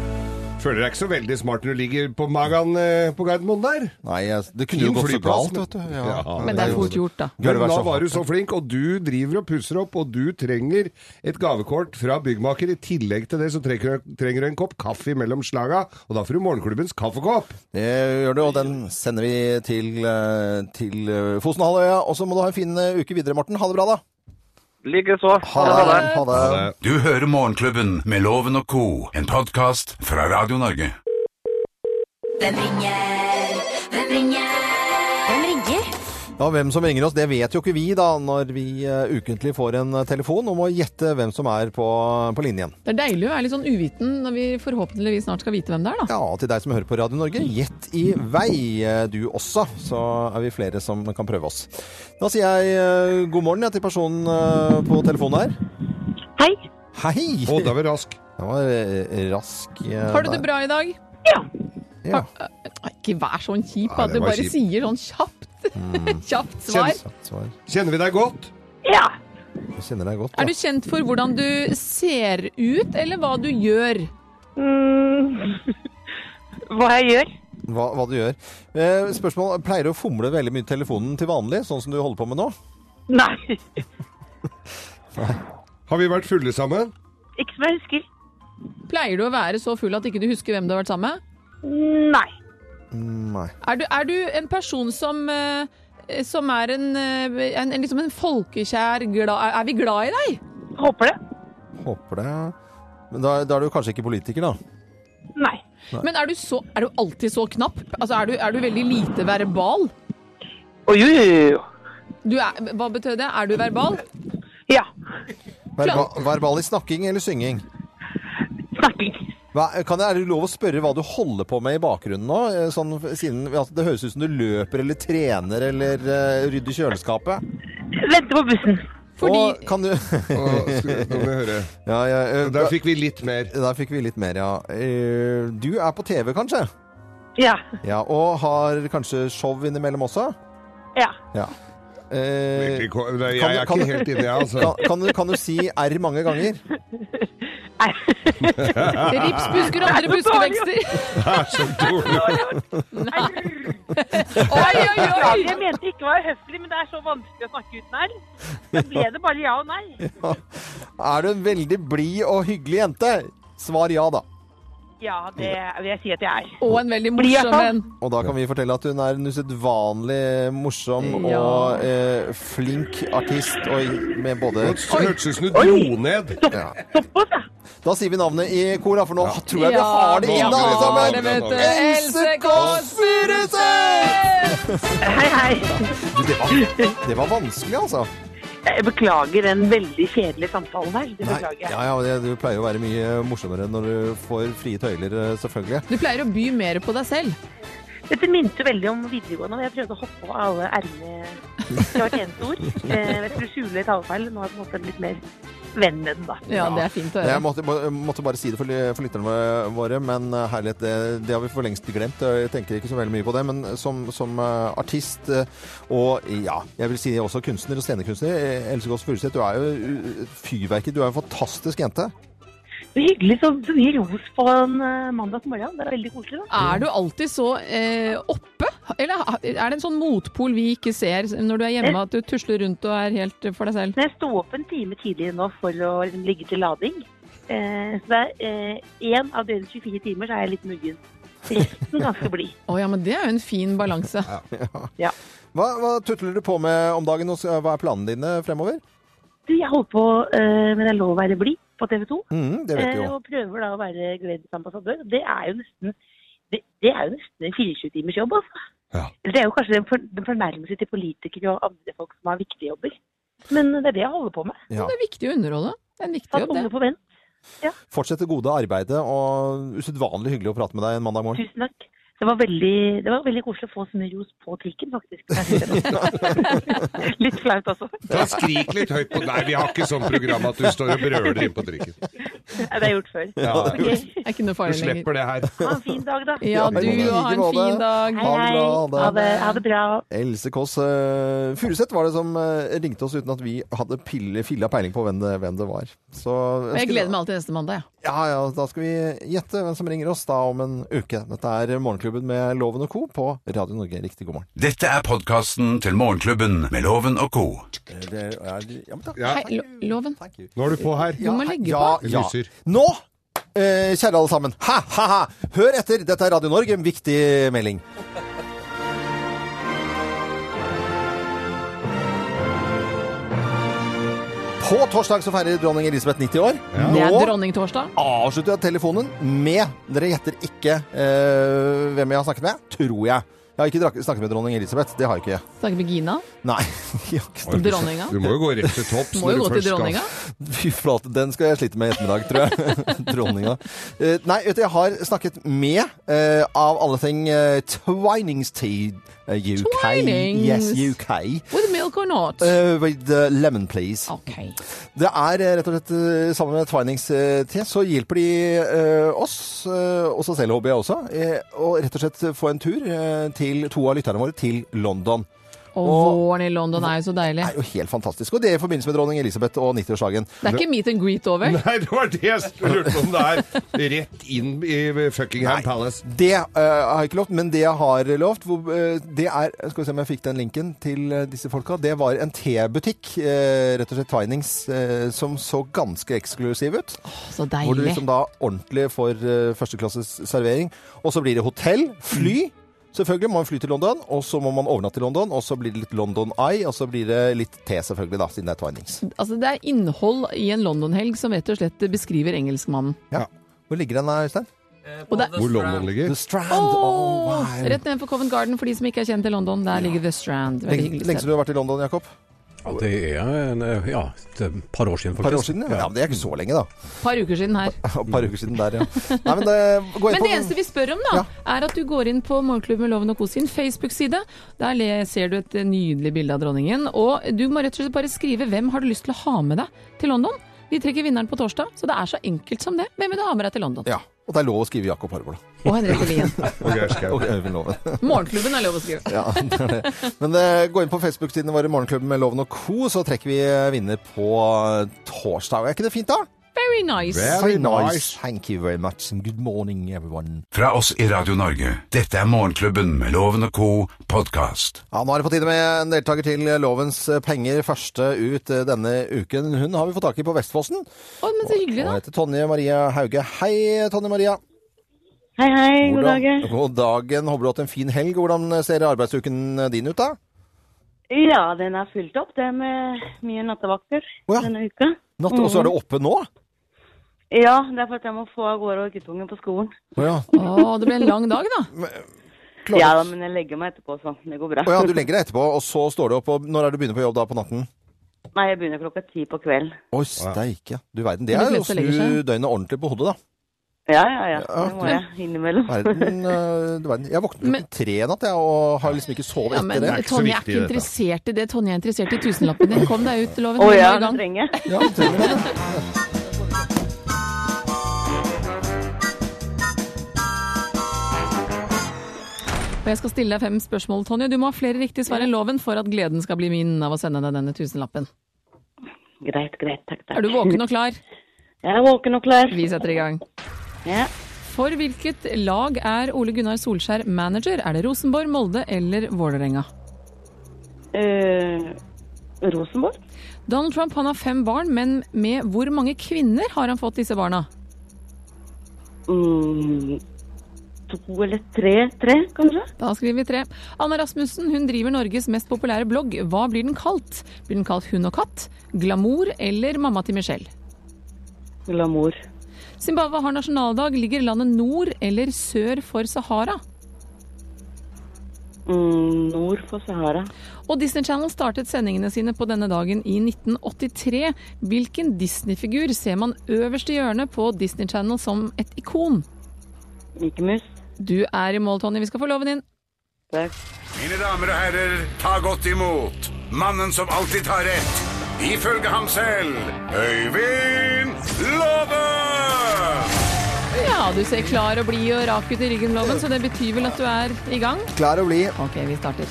D: Føler deg ikke så veldig smart når du ligger på magen eh, på Gardermoen der.
B: Nei, jeg- det kunne jo
D: Fin
B: gått så
D: flyplass,
B: galt, vet du. Ja.
D: Ja,
C: Men det er fort gjort, da.
B: Burde
D: Men
B: vært
D: da
B: så.
D: var du så flink, og du driver og pusser opp, og du trenger et gavekort fra byggmaker. I tillegg til det så trenger, trenger du en kopp kaffe mellom slaga, og da får du morgenklubbens kaffekopp.
B: Det gjør du, og den sender vi til, eh, til eh, Fosenhalvøya. Og så må du ha en fin eh, uke videre, Morten. Ha det bra, da.
L: Likeså.
B: Ha det.
A: Du hører Morgenklubben med Loven og Co., en podkast fra Radio Norge.
H: Hvem ringer? Hvem ringer? Hvem ringer?
B: Ja, hvem som ringer oss, det vet jo ikke vi da, når vi eh, ukentlig får en eh, telefon om å gjette hvem som er på, på linjen.
C: Det er deilig å være litt sånn uviten når vi forhåpentligvis snart skal vite hvem det er, da.
B: Ja, og til deg som hører på Radio Norge, gjett i vei eh, du også, så er vi flere som kan prøve oss. Da sier jeg eh, god morgen ja, til personen eh, på telefonen her.
I: Hei.
B: Hei!
D: Og da var vi rask.
B: Det var eh, rask eh,
C: Har du det
B: der.
C: bra i dag?
B: Ja.
C: Nei, Ikke vær sånn kjip,
D: Nei,
C: at
D: det
C: du
D: var
C: bare
D: kjip.
C: sier sånn kjapt. kjapt svar.
B: Kjapt svar.
D: Kjenner vi deg godt?
I: Ja.
B: Jeg kjenner deg godt.
C: Er du kjent for hvordan du ser ut, eller hva du gjør?
I: Hva jeg gjør?
B: Hva, hva du gjør. Eh, spørsmål, Pleier du å fomle veldig mye i telefonen til vanlig, sånn som du holder på med nå?
I: Nei,
D: Har vi vært fulle sammen?
I: ikke som jeg husker.
C: Pleier du å være så full at ikke du husker hvem du har vært sammen med?
I: Nei.
B: Nei.
C: Er du, er du en person som, eh, som er en, eh, en, en, liksom en folkekjær glad, er- Er vi glad i deg?
I: Håper det.
B: Håper det. Men da, da er du kanskje ikke politiker, da?
I: Nei.
B: Nei.
C: Men er du, så, er du alltid så knapp? Altså, er du, er du veldig lite verbal?
I: Oi, oi, oi, oi.
C: Du er, hva betød det? Er du verbal?
I: Ja.
B: Verba, verbal i snakking eller synging?
I: Snakking.
B: Hva, kan jeg, er det lov å spørre hva du holder på med i bakgrunnen nå? eh, Sånn, siden at det høres ut som du løper eller trener eller eh, rydder kjøleskapet.
I: Venter på bussen.
B: Fordi... Og kan du
D: skal- nå må jeg høre.
B: Ja, ja, eh,
D: Der fikk vi litt mer.
B: Der fikk vi litt mer, ja. Eh, Du er på TV, kanskje?
I: Ja.
B: Ja, Og har kanskje show innimellom også?
I: Ja.
B: Ja. Eh,
D: Virkelig ko- Nei, jeg
B: kan du-
D: er ikke
B: kan du-
D: helt inne, jeg, altså.
B: Kan, kan, du, kan du si R mange ganger?
C: Rips, busker og andre
I: Det er så dårlig
C: buskevekster.
D: Det er så dårlig.
C: Oi, oi, oi!
I: Jeg mente ikke å være høflig, men det er så vanskelig å snakke uten her. Da ble det bare ja og nei.
B: Ja. Er du en veldig blid og hyggelig jente? Svar ja, da.
I: Ja, det vil jeg si at jeg er.
C: Og en veldig
I: Blir jeg
C: morsom
I: sånn?
C: en.
B: Og da kan vi fortelle at hun er en usedvanlig morsom
C: Ja.
B: og eh, flink artist. Og med både
D: Det hørtes ut som du dro ned.
B: ja. Da sier vi navnet i kor, da, for nå tror jeg vi har det
C: Ja,
B: inne, alle sammen.
C: det vet du.
B: Else
C: Else Kåss Furuseth!
I: Hei, hei.
B: Du, det, var, det var vanskelig, altså.
I: Jeg beklager den veldig kjedelige samtalen her. Det
B: Nei,
I: beklager jeg.
B: ja, ja, det- du pleier å være mye morsommere når du får frie tøyler, eh, selvfølgelig.
C: Du pleier å by mer på deg selv.
I: Dette minte jo veldig om videregående, og jeg prøvde å hoppe over alle ermene fra hvert eneste ord. Eh, Jeg skulle skjule talefeil. Nå har jeg på en måte blitt mer venn med den, da.
C: Ja, det er fint å
B: Jeg
C: høre.
B: måtte, må- måtte bare si det for, ly- for lytterne våre, men eh, herlighet, det, det har vi for lengst glemt. Eh, Jeg tenker ikke så veldig mye på det, men som, som eh, artist eh, og ja, jeg vil si også kunstner og scenekunstner, eh, Else Kåss Furuseth, du er jo eh, fyrverket. Du er en fantastisk jente.
I: Det er hyggelig så, så mye ros på en eh, mandag morgen. Det er veldig koselig, da.
C: Er du alltid så eh, oppe? Eller er det en sånn motpol vi ikke ser når du er hjemme, at du tusler rundt og er helt for deg selv?
I: Men jeg sto opp en time tidligere nå for å liksom ligge til lading. Eh, så det er én av døgnets 24 timer så er jeg litt muggen. Resten ganske blid.
C: Å ja, men det er jo en fin balanse.
I: Ja.
B: Hva, hva tutler du på med om dagen? og s- Hva er planene dine fremover?
I: Du, jeg holder på eh, med Det er lov å være blid på TV 2.
B: Mhm, det vet vi jo.
I: Eh, og prøver da å være gledens ambassadør. Det er jo nesten det, det er jo nesten en 24-timers jobb, altså.
D: Ja.
I: Eller Det er jo kanskje en, for, en fornærmelse til politikere og andre folk som har viktige jobber. Men det er det jeg holder på med.
B: Ja.
C: Det er viktig å underholde. Det er en viktig
I: Satt
C: jobb,
I: unge
C: det.
I: på vent.
B: Fortsett det gode arbeidet, og usedvanlig hyggelig å prate med deg en mandag morgen.
I: Tusen takk. Det var veldig, det var veldig koselig å få så mye ros på trikken, faktisk. Litt flaut også.
D: Da skrik litt høyt på Nei, vi har ikke sånn program at du står og brøler inn på trikken.
I: Det har jeg gjort før.
D: Ja,
I: Ok.
C: Det er ikke noe
D: Du
C: farlig lenger.
D: slipper det her.
I: Ha en fin dag, da.
C: Ja, du
B: I
C: og ha en
B: like måte.
C: fin dag.
I: Hei, hei.
B: Ha det bra, ha
I: Ha
B: det.
I: det, ha det bra.
B: Else Kåss uh, Furuseth var det som eh, ringte oss uten at vi hadde pille, filla peiling på hvem det, hvem det var. Så
C: Og jeg gleder meg alltid neste mandag, jeg.
B: Ja, ja, da skal vi gjette hvem som ringer oss da om en uke. Dette er Morgenklubben med Loven og co. på Radio Norge. Riktig god morgen.
A: Dette er podkasten til Morgenklubben med Loven og co.
B: Det er, ja, men takk.
D: Ja.
C: Hei, lo Loven.
B: Thank you.
D: Nå er du på her.
C: Du må legge
B: ja,
C: på.
D: Jeg
B: Ja.
D: lyser.
B: Nå, eh, kjære alle sammen, ha, ha, ha. hør etter. Dette er Radio Norge, en viktig melding. På torsdag så feirer dronning Elisabeth 90 år.
C: Det er
B: Nå
C: dronningtorsdag.
B: avslutter jeg telefonen med Dere gjetter ikke eh, hvem jeg har snakket med, tror jeg. Jeg har ikke drak- snakket med dronning Elisabeth. Det har jeg ikke.
C: Snakker med Gina.
B: Nei. jeg har ikke snakket-
C: Dronninga.
D: Du må jo gå rett til topps
C: Må jo
D: når du
C: gå
D: først
C: til
D: skal
C: dronninga.
B: Fy flate, den skal jeg slite med i ettermiddag, tror jeg. Dronninga. Eh, nei, vet du, jeg har snakket med, eh, av alle ting, uh, Twiningstea eh, UK.
C: Twinings.
B: Yes, UK.
C: With milk or not.
B: Eh, with the lemon, please.
C: Ok.
B: Det er eh, rett og slett eh, sammen med Twinings-te, så hjelper de eh, oss, eh, og seg selv håper jeg også, eh, å rett og slett få en tur eh, til to av lytterne våre til London.
C: Og, våren i London er jo så deilig.
B: Det er jo helt fantastisk. Og det er i forbindelse med dronning Elisabeth og 90-årsdagen.
C: Det er ikke meet and greet over.
D: Nei, det var det jeg lurte på om det er. Rett inn i Fuckingham Palace.
B: Det eh, har jeg ikke lovt, men det jeg har lovt, hvor, eh, det er Skal vi se om jeg fikk den linken til eh, disse folka. Det var en tebutikk, eh, rett og slett Twinings, eh, som så ganske eksklusiv ut.
C: så deilig.
B: Hvor du liksom da ordentlig får eh, førsteklasses servering. Og så blir det hotell,
C: Mm.
B: fly. Selvfølgelig må man fly til London, og så må man overnatte i London. Og så blir det litt London Eye, og så blir det litt te, selvfølgelig, da, siden det er Twinings.
C: Altså, det er innhold i en London-helg som rett og slett beskriver engelskmannen.
B: Ja. Hvor ligger den da, Øystein?
C: Og det er-
D: Hvor London ligger?
B: The Strand.
C: Åh,
B: wow.
C: rett nedenfor Covent Garden, for de som ikke er kjent i London. Der ligger The Strand. Veldig
B: Lenge,
C: hyggelig
B: lenge
C: sted.
B: siden du har vært i London, Jakob?
K: Ja, det er en, ja, det er et par år siden, faktisk.
B: Par år siden, ja. ja. men Det er ikke så lenge, da.
C: Par uker siden her.
B: Et par uker siden der, ja. Nei, men det, gå inn
C: Men
B: på
C: det eneste vi spør om, da, er at du går inn på Morgenklubben med Loven og Co. sin Facebook-side. Der le- ser du et nydelig bilde av dronningen. Og du må rett og slett bare skrive hvem har du lyst til å ha med deg til London. Vi trekker vinneren på torsdag, så det er så enkelt som det. Hvem vil du ha med deg til London?
B: Ja. Og det er lov å skrive Jakob Harvold.
C: Og Henriette Lien.
B: og Øyvind Loven.
C: Morgenklubben er lov å skrive.
B: Ja, det er det. Men eh, gå inn på Facebook-sidene våre, Morgenklubben med Loven og co., så trekker vi eh, vinner på eh, torsdag. Er ikke det fint, da?
C: Very nice.
B: Very nice. Thank you very much. And good morning, everyone.
A: Fra oss i Radio Norge, dette er Morgenklubben med Loven og co. podkast.
B: Ja, Nå er det på tide med en deltaker til Lovens eh, penger, første ut eh, denne uken. Hun har vi fått tak i på Vestfossen.
C: Å, men så hyggelig,
B: Og
C: da.
B: heter Tonje Maria Hauge. Hei, Tonje Maria.
M: Hei, hei. God
B: Hvordan-
M: dag.
B: God dagen. Håper du har hatt en fin helg. Hvordan ser arbeidsuken din ut, da?
M: Ja, den er fylt opp, det med mye nattevakter denne uka. Mm.
B: Natt, og så er det oppe nå?
M: Ja, det er for at jeg må få av gårde guttungen på skolen.
B: Å ja.
C: Å, det blir en lang dag, da.
B: Klarer-
M: Ja da, men jeg legger meg etterpå, så det går bra.
B: Å ja, du legger deg etterpå, og så står du opp. Og når er det du begynner på jobb da, på natten?
M: Nei, jeg begynner klokka ti på kvelden.
B: Å, steike. Du verden. Det
M: Men de
B: er jo å
M: fleste legger seg.
B: snu døgnet ordentlig på hodet, da.
M: Ja, ja, ja.
B: Ja,
M: Det må jeg innimellom.
B: Verden, eh, du verden. Jeg våknet
C: Men-
B: klokken tre i natt, jeg, og har liksom ikke sovet
C: Ja,
B: etter
C: men
B: det.
C: Tonje er ikke interessert i det. Tonje er interessert i tusenlappen din. Kom deg ut,
M: Å
C: Loven. Nå er
M: ja,
C: vi i
M: det
C: gang.
M: trenger jeg.
B: Ja, det trenger jeg.
C: Og jeg skal stille deg fem spørsmål, Tonje. Du må ha flere riktige svar enn loven for at gleden skal bli min av å sende deg denne tusenlappen.
M: Greit, greit. Takk, takk.
C: Er du våken og klar?
M: Jeg er våken og klar.
C: Vi setter i gang.
M: Ja.
C: For hvilket lag er Ole Gunnar Solskjær manager? Er det Rosenborg, Molde eller Vålerenga?
M: Eh, Rosenborg.
C: Donald Trump han har fem barn, men med hvor mange kvinner har han fått disse barna?
M: Mm, to eller tre? Tre, kanskje?
C: Da skriver vi tre. Anna Rasmussen hun driver Norges mest populære blogg. Hva blir den kalt? Blir den kalt Hund og katt, Glamour eller Mamma til Michelle?
M: Glamour.
C: Zimbabwe har nasjonaldag. Ligger landet nord eller sør for Sahara?
M: Mm, nord for Sahara.
C: Og Disney Channel startet sendingene sine på denne dagen i 1983. Hvilken Disney-figur ser man øverst i hjørnet på Disney Channel som et ikon?
M: Mikke Mus.
C: Du er i mål, Tonje. Vi skal få loven inn.
A: Mine damer og herrer, ta godt imot mannen som alltid tar rett, ifølge ham selv, Øyvind Låve!
C: Ja, du ser klar og blid og rak ut i ryggen, loven, så det betyr vel at du er i gang?
B: Klar å bli.
C: Ok, vi starter.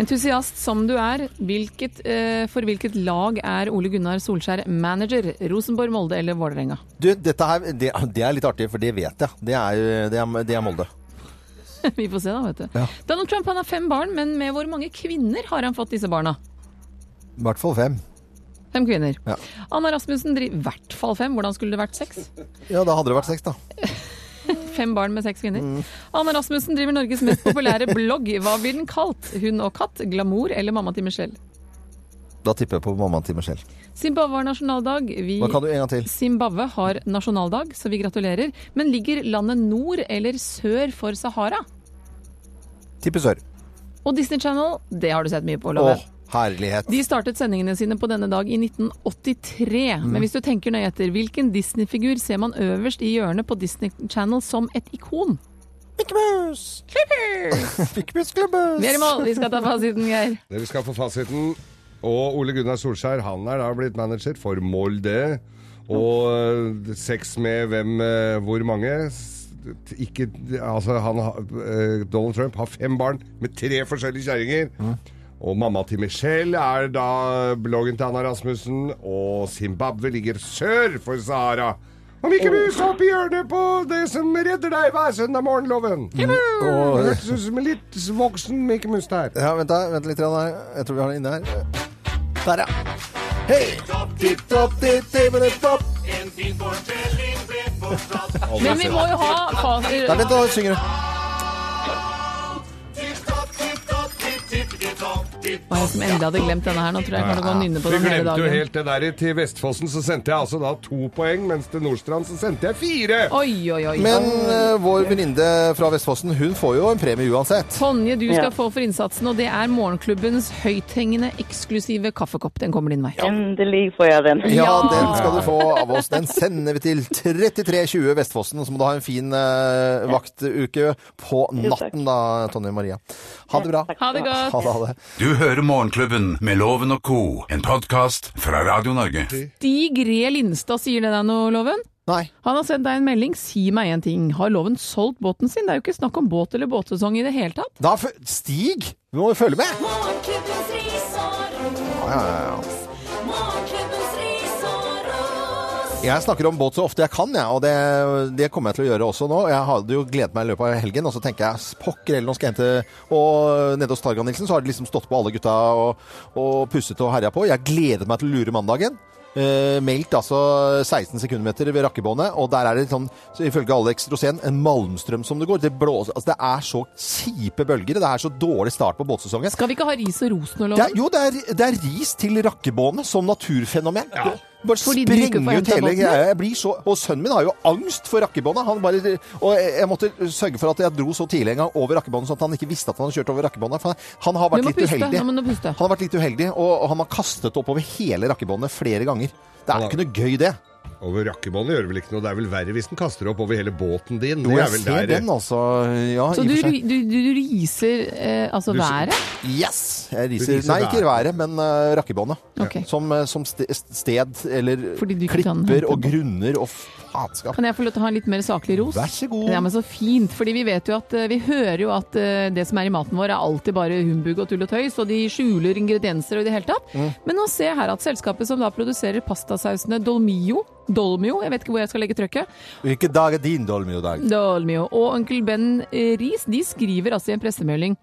C: Entusiast som du er, hvilket, eh, for hvilket lag er Ole Gunnar Solskjær manager? Rosenborg, Molde eller Vålerenga?
B: Du, dette her, det, det er litt artig, for det vet jeg. Det er, det er, det er Molde.
C: vi får se da, vet du.
B: Ja.
C: Donald Trump han har fem barn, men med hvor mange kvinner har han fått disse barna?
B: I hvert fall fem.
C: Fem kvinner.
B: Ja.
C: Anna Rasmussen driver i hvert fall fem. Hvordan skulle det vært seks?
B: ja, da hadde det vært seks, da.
C: Fem barn med seks kvinner.
B: Mm.
C: Anna Rasmussen driver Norges mest populære blogg. Hva blir den kalt? Hund og katt, glamour eller mamma til Michelle?
B: Da tipper jeg på mammaen til Michelle.
C: Zimbabwe har nasjonaldag. Vi
B: Hva kan du en gang til?
C: Zimbabwe har nasjonaldag, så vi gratulerer. Men ligger landet nord eller sør for Sahara?
B: Tipper sør.
C: Og Disney Channel, det har du sett mye på,
B: Å,
C: Loven.
B: herlighet.
C: De startet sendingene sine på denne dag i 1983.
D: Mm.
C: Men hvis du tenker nøye etter, hvilken Disney-figur ser man øverst i hjørnet på Disney Channel som et ikon?
B: Mickey Mouse!
C: Clippers!
B: Klubbhus!
C: Vi er i mål, vi skal ta fasiten, Geir.
D: Dere skal få fasiten. Og Ole Gunnar Solskjær, han er da blitt manager for Molde. Og eh, sex med hvem eh, hvor mange? S- ikke, altså han, har- eh, Donald Trump har fem barn med tre forskjellige kjerringer. Og mamma til Michelle er da bloggen til Anna Rasmussen. Og Zimbabwe ligger sør for Sahara. Og Mikke Mus opp i hjørnet på det som redder deg hver søndag morgen, Loven. Mm.
B: og-
D: Hørtes ut som en litt voksen Mikke Mus der.
B: Ja, vent, da, vent litt. grann her. Jeg tror vi har det inne her. Der, ja. Hei!
E: En fin fortelling ble fortalt.
C: Men vi må jo ha faser.
B: Der, vent, da synger du.
C: Det var jeg som endelig hadde glemt denne her. Nå tror jeg jeg kommer til å gå og nynne på
D: Vi
C: den hele
D: glemte jo
C: dagen.
D: helt det der. Til Vestfossen så sendte jeg altså da to poeng, mens til Nordstrand så sendte jeg fire.
C: Oi, oi, oi.
B: Men eh, vår venninne fra Vestfossen, hun får jo en premie uansett.
C: Tonje, du
B: Ja.
C: skal få for innsatsen, og det er morgenklubbens høythengende eksklusive kaffekopp. Den kommer din vei.
M: Endelig får jeg den.
B: Ja, den skal du få av oss. Den sender vi til 3320 Vestfossen, og så må du ha en fin eh, vaktuke på natten da, Tonje Maria. Ha det bra.
C: Ha det godt.
B: Ha det, ha det.
A: Du hører Morgenklubben med Loven og Co., en podkast fra Radio Norge.
C: Stig Re Lindstad sier det deg noe, Loven?
B: Nei.
C: Han har sendt deg en melding. Si meg en ting. Har Loven solgt båten sin? Det er jo ikke snakk om båt eller båtsesong i det hele tatt.
B: Da, fø- Stig, du må jo følge med.
H: Morgenklubbens ris og ros.
B: Ja, ja, ja.
H: Morgenklubbens ris og ros.
B: Jeg snakker om båt så ofte jeg kan, jeg, og det, det kommer jeg til å gjøre også nå. Jeg hadde jo gledet meg i løpet av helgen, og så tenker jeg pokker heller, nå skal jeg hente Og nede hos Targan Nilsen så har de liksom stått på alle gutta og, og pusset og herja på. Jeg gledet meg til å lure mandagen. Eh, meldt altså 16 sekundmeter ved rakkebåndet, og der er det sånn, så ifølge Alex Rosén, en malmstrøm som det går. Det, blåser, altså det er så kjipe bølger, det er så dårlig start på båtsesongen.
C: Skal vi ikke ha ris og ros nå,
B: Det er,
C: Loven?
B: jo, det er, det er ris til rakkebåndet som naturfenomen. Det Bare
C: Fordi du ikke
B: sprenger
C: får
B: ut
C: henta
B: hele
C: båten.
B: greia. Jeg blir så, og sønnen min har jo angst for rakkebåndet. Han bare, og jeg jeg måtte sørge for at jeg dro så tidlig en gang over rakkebåndet, sånn at han ikke visste at han hadde kjørt over rakkebåndet. For han- han har
C: Du
B: vært
C: må
B: litt
C: puste.
B: uheldig.
C: Nå må du puste.
B: Han har vært litt uheldig, og, og han har kastet oppover hele rakkebåndet flere ganger. Det er ikke noe gøy, det.
D: Over rakkebåndet gjør det vel ikke noe. Det er vel verre hvis den kaster opp over hele båten din.
B: Jo,
D: Det er
B: jeg
D: vel
B: ser
D: der-
B: den, altså. Ja,
C: Så
B: i og
C: du,
B: for seg.
C: du, du, du riser eh, altså været?
B: Yes! Jeg
C: Du
B: riser,
C: riser
B: nei, ikke
C: været.
B: været, men eh, rakkebåndet.
C: Ok.
B: Som, eh, som ste- sted, eller
C: ikke kan
B: klipper og grunner og faenskap.
C: Kan jeg få lov til å ha en litt mer saklig ros?
B: Vær så god.
C: Ja, men så fint, fordi vi vet jo at eh, vi hører jo at eh, det som er i maten vår er alltid bare humbug og tull og tøys, og de skjuler ingredienser og i det hele tatt.
H: Mm.
C: Men nå ser jeg her at selskapet som da produserer pastasausene Dolmio, Dolmio, jeg vet ikke hvor jeg skal legge trykket,
B: Hvilken dag er din dolmio dag?
C: Dolmio og onkel Ben eh, Riis, de skriver altså i en pressemelding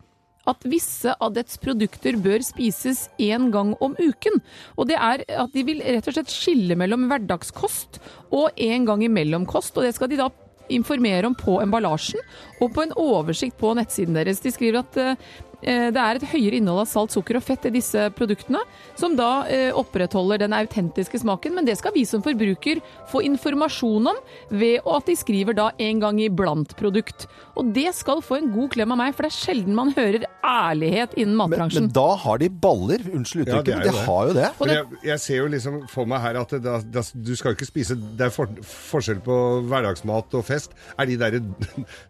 C: at visse av dets produkter bør spises én gang om uken. Og det er at de vil rett og slett skille mellom hverdagskost og en gang imellomkost, og det skal de da informere om på emballasjen og på en oversikt på nettsiden deres. De skriver at eh, eh, det er et høyere innhold av salt, sukker og fett i disse produktene, som da eh, opprettholder den autentiske smaken, men det skal vi som forbruker få informasjon om ved å at de skriver da en gang iblant produkt. Og det skal få en god klem av meg, for det er sjelden man hører ærlighet innen matbransjen.
B: Men da har de baller, unnskyld
D: Ja,
B: uttrykket, men de
D: det er jo det.
B: har jo det.
D: Men jeg, jeg ser jo liksom for meg her at det, da, da, du skal jo ikke spise Det er for, forskjell på hverdagsmat og fest. Er de der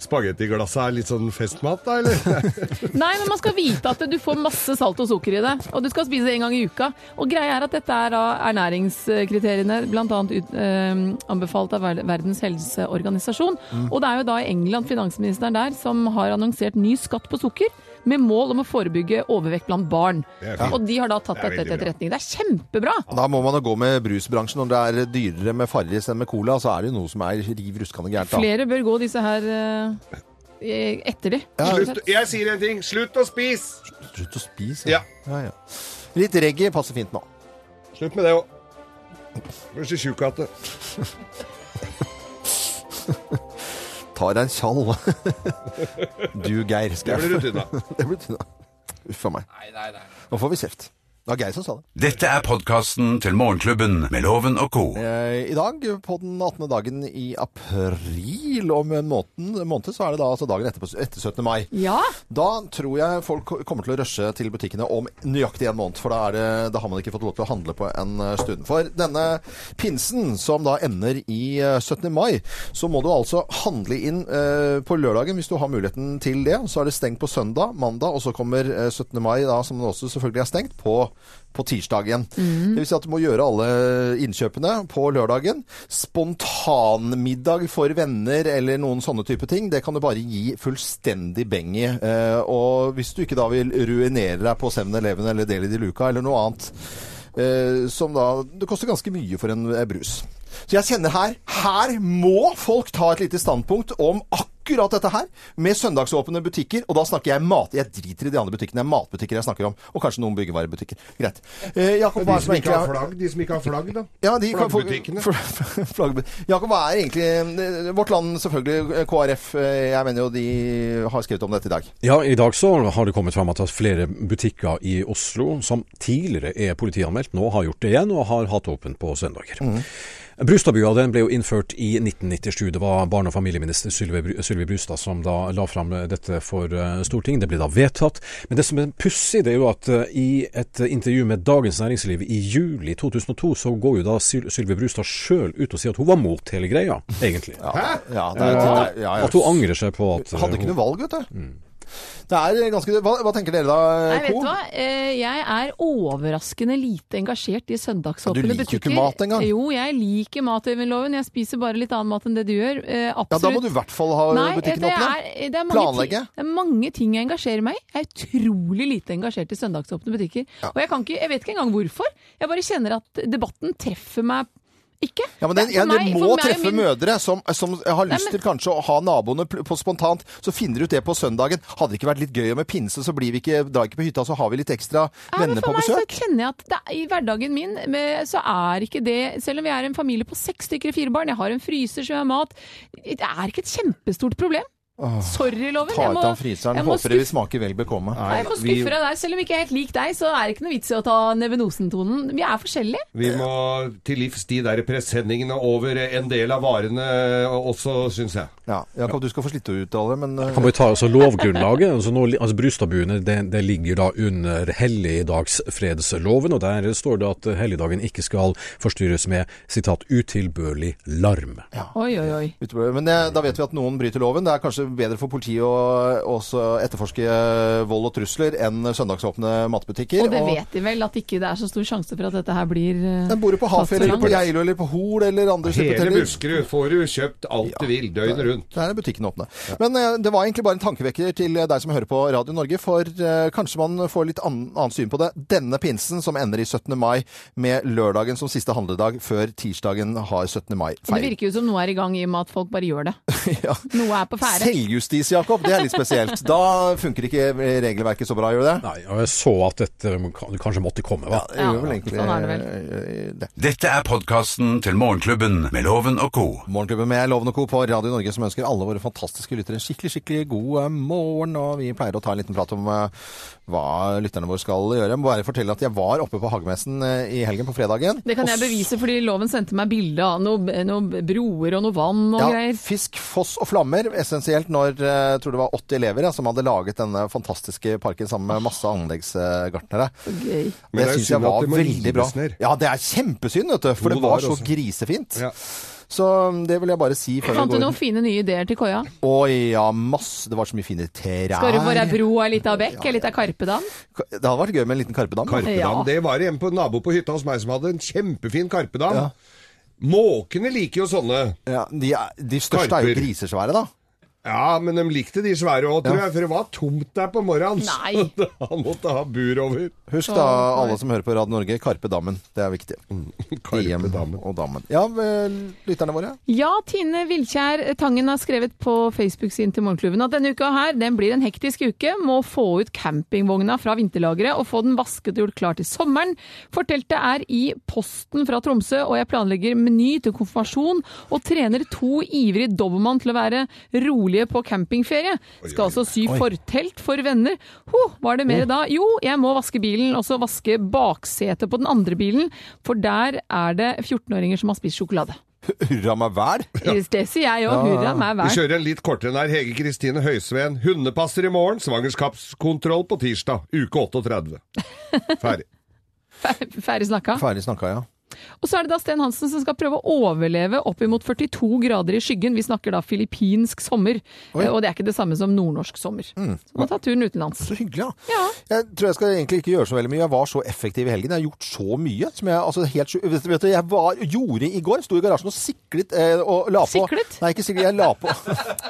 D: spagettiglassa litt sånn festmat, da, eller?
C: Nei, men man skal vite at du får masse salt og sukker i det, og du skal spise det en gang i uka. Og greia er at dette er da ernæringskriteriene, bl.a. Eh, anbefalt av Ver- Verdens helseorganisasjon.
H: Mm.
C: Og det er jo da i England finansministeren der som har annonsert ny skatt på sukker. Med mål om å forebygge overvekt blant barn.
B: Det er fint.
C: Og de har da tatt
B: Det er
C: dette til
B: veldig bra.
C: etterretning. Det er kjempebra!
B: Da må man jo gå med brusbransjen. Når det er dyrere med Farris enn med Cola, så er det jo noe som er riv ruskende gærent. da.
C: Flere bør gå disse her eh, etter de.
D: Slutt, jeg sier en ting. Slutt å spise!
B: Slutt å spise. Ja. Ja, ja. Litt reggae passer fint nå.
D: Slutt med det òg. Blir så tjukk at det
B: Tar deg en tjall. Du, Geir.
A: Det
B: Skal
A: blir du
B: jeg-
A: tynn
B: det blir tynna. Uff a meg. Nå får vi kjeft. Det var Geir som sa det.
A: Dette er podkasten til Morgenklubben med Loven og Co.
B: Eh, I dag, på den 18. dagen i april, om en måned, måned så er det da altså dagen etterpå, etter 17. mai.
C: Ja.
B: Da tror jeg folk ko- kommer til å rushe til butikkene om nøyaktig en måned, for da, er det, da har man ikke fått lov til å handle på en eh, stund. For denne pinsen, som da ender i eh, 17. mai, så må du altså handle inn eh, på lørdagen hvis du har muligheten til det. Så er det stengt på søndag, mandag, og så kommer eh, 17. mai, da, som også selvfølgelig er stengt, på på tirsdagen.
C: Mhm.
B: Det vil si at du må gjøre alle innkjøpene på lørdagen. Spontanmiddag for venner eller noen sånne type ting, det kan du bare gi fullstendig beng i. Eh, Og hvis du ikke da vil ruinere deg på 7-Eleven eller Deli de Luca eller noe annet, eh, som da Det koster ganske mye for en eh, brus. Så jeg kjenner her Her må folk ta et lite standpunkt om akkurat dette her, med søndagsåpne butikker. Og da snakker jeg mat. Jeg driter i de andre butikkene. Det er matbutikker jeg snakker om. Og kanskje noen byggevarebutikker. Greit. Eh, Jakob, hva
D: De
B: er
D: som
B: som
D: ikke har
B: egentlig
D: flagg, de som ikke har flagg, da.
B: Ja, de kan få-
D: Flaggbutikkene.
B: Flaggbe- Jakob, hva er egentlig eh, Vårt Land, selvfølgelig. KrF. eh, Jeg mener jo de har skrevet om dette i dag.
K: Ja, i dag så har det kommet fram at det er flere butikker i Oslo som tidligere er politianmeldt, nå har gjort det igjen og har hatt åpent på søndager.
B: Mm.
K: Brustadbua den ble jo innført i 1997. Det var barne- og familieminister Sylvi Bru- Sylvi Brustad som da la fram dette for eh, Stortinget. Det ble da vedtatt. Men det som er pussig, det er jo at eh, i et intervju med Dagens Næringsliv i juli 2002, så går jo da Syl- Sylvi Brustad sjøl ut og sier at hun var mot hele greia, egentlig.
B: Ja, det er- det er- ja, ja.
K: At hun angrer seg på at eh,
B: Hadde ikke
K: hun-
B: noe valg, vet du. Det er eh, ganske Hva, hva tenker dere da,
C: Nei, vet
B: Co?
C: du hva? Eh, Jeg er overraskende lite engasjert i søndagsåpne
B: Ja, du
C: butikker.
B: liker jo ikke mat engang.
C: Jo, jeg liker mat, Øyvind Loven. Jeg spiser bare litt annen mat enn det du gjør. Eh, Absolutt.
B: Ja, da må du i hvert fall ha
C: Nei,
B: butikken
C: det
B: åpne.
C: er, det er mange
B: Planlegge.
C: Ting, det er mange ting jeg engasjerer meg i. Jeg er utrolig lite engasjert i søndagsåpne butikker. Og jeg, kan ikke, jeg vet ikke engang hvorfor. Jeg bare kjenner at debatten treffer meg ikke.
B: Ja, men den,
C: Det
B: ja,
C: er for
B: det
C: meg-
B: må
C: for meg og
B: treffe
C: min-
B: mødre som, som har lyst
C: Nei, men-
B: til kanskje å ha naboene pl- på spontant. Så finner du ut det på søndagen. Hadde det ikke vært litt gøy og med pinse, så blir vi ikke, drar ikke på hytta, så har vi litt ekstra
C: Ja, men
B: venner
C: for
B: på
C: meg så
B: besøk.
C: kjenner jeg at det, er- i hverdagen min med, så er ikke det Selv om jeg er en familie på seks stykker i fire barn, jeg har en fryser så jeg har mat Det er ikke et kjempestort problem.
B: Åh,
C: Sorry, Loven.
B: Ta
C: jeg
B: ut
C: må-
B: av fryseren.
C: jeg må
B: Håper det vil smake vel bekomme.
C: Nei, Jeg får skuffe deg der. Selv om jeg ikke er helt lik deg, så er det ikke noe vits i å ta nevenosen-tonen. Vi er forskjellige.
D: Vi må til livs de der presenningene over en del av varene også, syns jeg.
B: Ja, Jakob, du skal få slitte å uttale det, men
K: Kan bare ta altså, lovgrunnlaget. Altså, nå, li- altså, Brustadbuene det, det ligger da under helligdagsfredsloven, og der står det at eh, helligdagen ikke skal forstyrres med sitat, 'utilbørlig larm'.
C: Oi, oi, oi.
B: Uteble- Men eh, da vet vi at noen bryter loven. Det er kanskje bedre for politiet å også etterforske eh, vold og trusler enn søndagsåpne matbutikker.
C: Og det vet de vel, at ikke det er så stor sjanse for at dette her blir eh,
B: Den bor du på
C: tatt så
B: Hafjell eller
C: langt.
B: på Geilo eller på Hol eller andre
D: Hele
B: slippeteller.
D: Buskerud får du kjøpt alt du vil, døgnet rundt.
B: Der er butikken åpne. Men eh, det var egentlig bare en tankevekker til eh, deg som hører på Radio Norge, for eh, kanskje man får litt annen, annet syn på det denne pinsen som ender i 17. mai, med lørdagen som siste handledag før tirsdagen har 17.
C: Det
B: mai-feiring.
C: virker jo som noe er i gang i og med at folk bare gjør det. Noe er på ferde.
B: Selvjustis, Jakob, det er litt spesielt. Da funker ikke regelverket så bra, gjør det det?
K: Nei, og jeg så at dette må- kan- kanskje måtte komme, hva?
B: det gjør vel egentlig
C: sånn
B: eh, det.
A: Dette er podkasten til Morgenklubben med Loven og co.
B: Morgenklubben med Loven og Co. på Radio Norge som ønsker alle våre fantastiske lyttere en skikkelig, skikkelig god eh, morgen. Og vi pleier å ta en liten prat om eh, hva lytterne våre skal gjøre. Jeg må bare fortelle at jeg var oppe på Hagemessen eh, i helgen, på fredagen.
C: Det kan jeg bevise, fordi loven sendte meg bilde av noe, noe broer og noe vann og
B: Ja,
C: greier.
B: Fisk, foss og flammer, essensielt når eh, jeg tror det var 80 elever ja, som hadde laget denne fantastiske parken sammen med masse anleggsgartnere.
C: gøy.
D: Men
B: Det
D: det er
B: syns
D: synd
B: jeg
D: at
B: var
D: det må
B: veldig bra.
D: rives ned.
B: Ja, det er kjempesynd, vet du, for det altså.
D: Jo, det
B: var
D: er
B: så
D: også.
B: grisefint. Så mm, det vil jeg bare si før
C: Fant
B: vi
C: du
B: går
C: noen fine nye ideer til køya?
B: Oi, ja, masse. Det var så mye fine trær.
C: Skal det være bro og ei lita bekk, ei lita karpedam?
B: Det hadde vært gøy med en liten karpedam.
D: Karpedam.
C: Ja.
D: Det var en på nabo på hytta hos meg som hadde en kjempefin karpedam. Måkene liker jo sånne.
B: de, største er jo grisesvære, da.
D: Ja, men de likte de svære òg, tror jeg. For det var tomt der på morgenen.
C: Nei.
D: Så Han måtte ha bur over.
B: Husk da, alle som hører på Radio Norge, Karpedammen. Det er viktig. Mm, Karpedammen. Og dammen. Ja, vel, lytterne våre.
C: Ja, Tine Vilkjær Tangen har skrevet på Facebook-siden til Morgenklubben at denne uka her, den blir en hektisk uke. Må få ut campingvogna fra vinterlageret og få den vasket og gjort klar til sommeren. Forteltet er i posten fra Tromsø, og jeg planlegger meny til konfirmasjon og trener to ivrige dobbeltmann til å være rolige på campingferie. Skal altså sy
N: Oi.
C: fortelt for venner. Ho, var det mer da? Jo, jeg må vaske bilen, og så vaske baksetet på den andre bilen, for der er det 14-åringer som har spist sjokolade.
B: Hurra meg vel.
C: Det sier jeg òg. Hurra meg
D: Vi
C: vel.
D: kjører en litt kortere enn her. Hege Kristine Høysveen. Hundepasser i morgen. Svangerskapskontroll på tirsdag. Uke 38. Ferdig.
C: Ferdig snakka.
B: Ferdig snakka, ja.
C: Og så er det da Sten Hansen som skal prøve å overleve oppimot 42 grader i skyggen. Vi snakker da filippinsk sommer,
B: Oi.
C: eh, og det er ikke det samme som nordnorsk sommer.
D: Mm.
C: Så må ta turen utenlands.
B: Så hyggelig, da. Jeg tror jeg skal egentlig ikke gjøre så veldig mye. Jeg var så effektiv i helgen. Jeg har gjort så mye. Som jeg, altså, helt, sju- vet, du- vet du, jeg var, gjorde i går. Sto i garasjen og siklet eh, og la på Siklet? Nei, ikke siklet. Jeg la på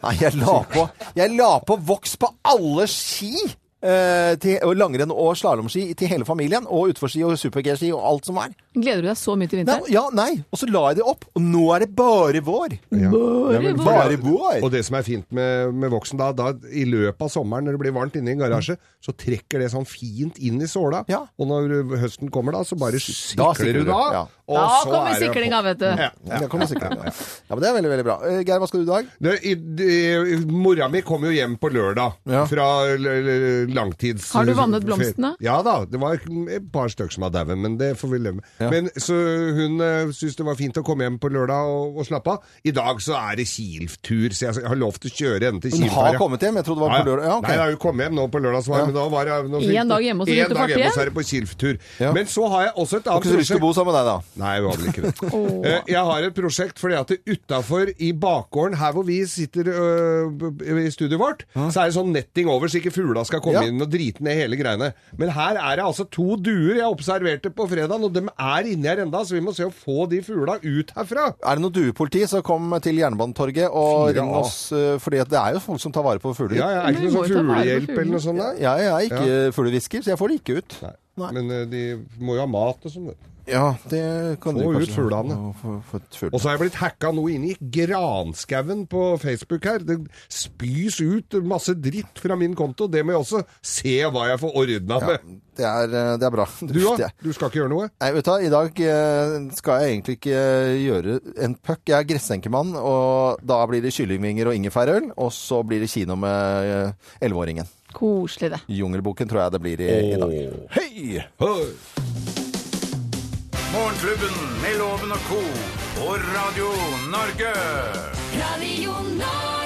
B: Nei, jeg la på Jeg la på voks på alle ski! Eh, til, og langrenn og slalåmski til hele familien. Og utforski og super-G-ski og alt som er.
C: Gleder du deg så mye til vinteren?
B: Ja, nei. Og så la jeg det opp, og nå er det bare vår.
D: Ja, men-
B: Bare vår.
D: Og det som er fint med, med voksen, da, da i løpet av sommeren når det blir varmt inne i en garasje, så trekker det sånn fint inn i såla. Og når høsten kommer, da, så bare sikler
B: sikler
D: du
B: du,
D: da.
B: ja.
D: og
C: Da
D: så
C: kommer
D: er det
C: siklinga,
D: på.
C: vet du.
D: Ja,
B: Da kommer siklinga. Ja, men Det er veldig veldig bra. Eh, Geir, hva skal du i dag?
D: Det, i, i, mora mi kom jo hjem på lørdag fra l- l- langtids...
C: Har du vannet blomstene?
D: Ja da, det var et par stykker som var daue, men det får vi leve med. Men Så hun uh, syntes det var fint å komme hjem på lørdag og, og slappe av. I dag så er det Kiel-tur, så jeg har lov til å kjøre henne til
B: Hun
D: Kiel.
B: har kommet hjem? Jeg trodde det var på lørdag. Ja, ok.
D: Nei, da, hun kom hjem nå på lørdag, som var,
B: Ja.
D: men da var det... nå
C: En
D: fikk-
C: dag hjemme hos
D: en
C: Ruth og
D: dag hjemme,
C: Partiet?
D: så er det på Kiel-tur. Men så har jeg også et
B: Har
D: annet
B: ikke så lyst til å bo sammen med deg, da?
D: Nei, hun har vel ikke det. Eh, Jeg har et prosjekt fordi at utafor i bakgården her hvor vi sitter øh, b- b- i studioet vårt, så er det sånn netting over så ikke fugla skal komme inn og drite ned hele greiene. Men her er det altså to duer jeg observerte på fredag, og de er inni her enda, så vi må se å få de fugla ut herfra.
B: Er det noe duepoliti, så kom til Jernbanetorget og
D: Fire
B: ring
D: A.
B: oss. eh, fordi at det er jo folk som tar vare på fugler.
D: Ja, ja, er det ikke noe sånn fuglehjelp eller noe sånt der?
B: Ja, jeg er ikke fuglehvisker, så jeg får det ikke ut.
D: Men eh, de må jo ha mat og sånn.
B: Ja, det kan
D: Få
B: du
D: ut fuglene. Og så har jeg blitt hacka noe inne i granskauen på Facebook her. Det spys ut masse dritt fra min konto. Det må jeg også se hva jeg får ordna med.
B: Det er, eh, det er bra.
D: Du da? Du skal ikke gjøre noe?
B: Nei, vet du hva, i dag eh, skal jeg egentlig ikke gjøre en puck. Jeg er gressenkemann, og da blir det kyllingvinger og ingefærøl, og så blir det kino med eh, elleveåringen.
C: Koselig, det.
B: Jungelboken tror jeg det blir i, i dag. Hei!
A: Morgenklubben med Loven og co. på Radio Norge.
H: Radio Norge.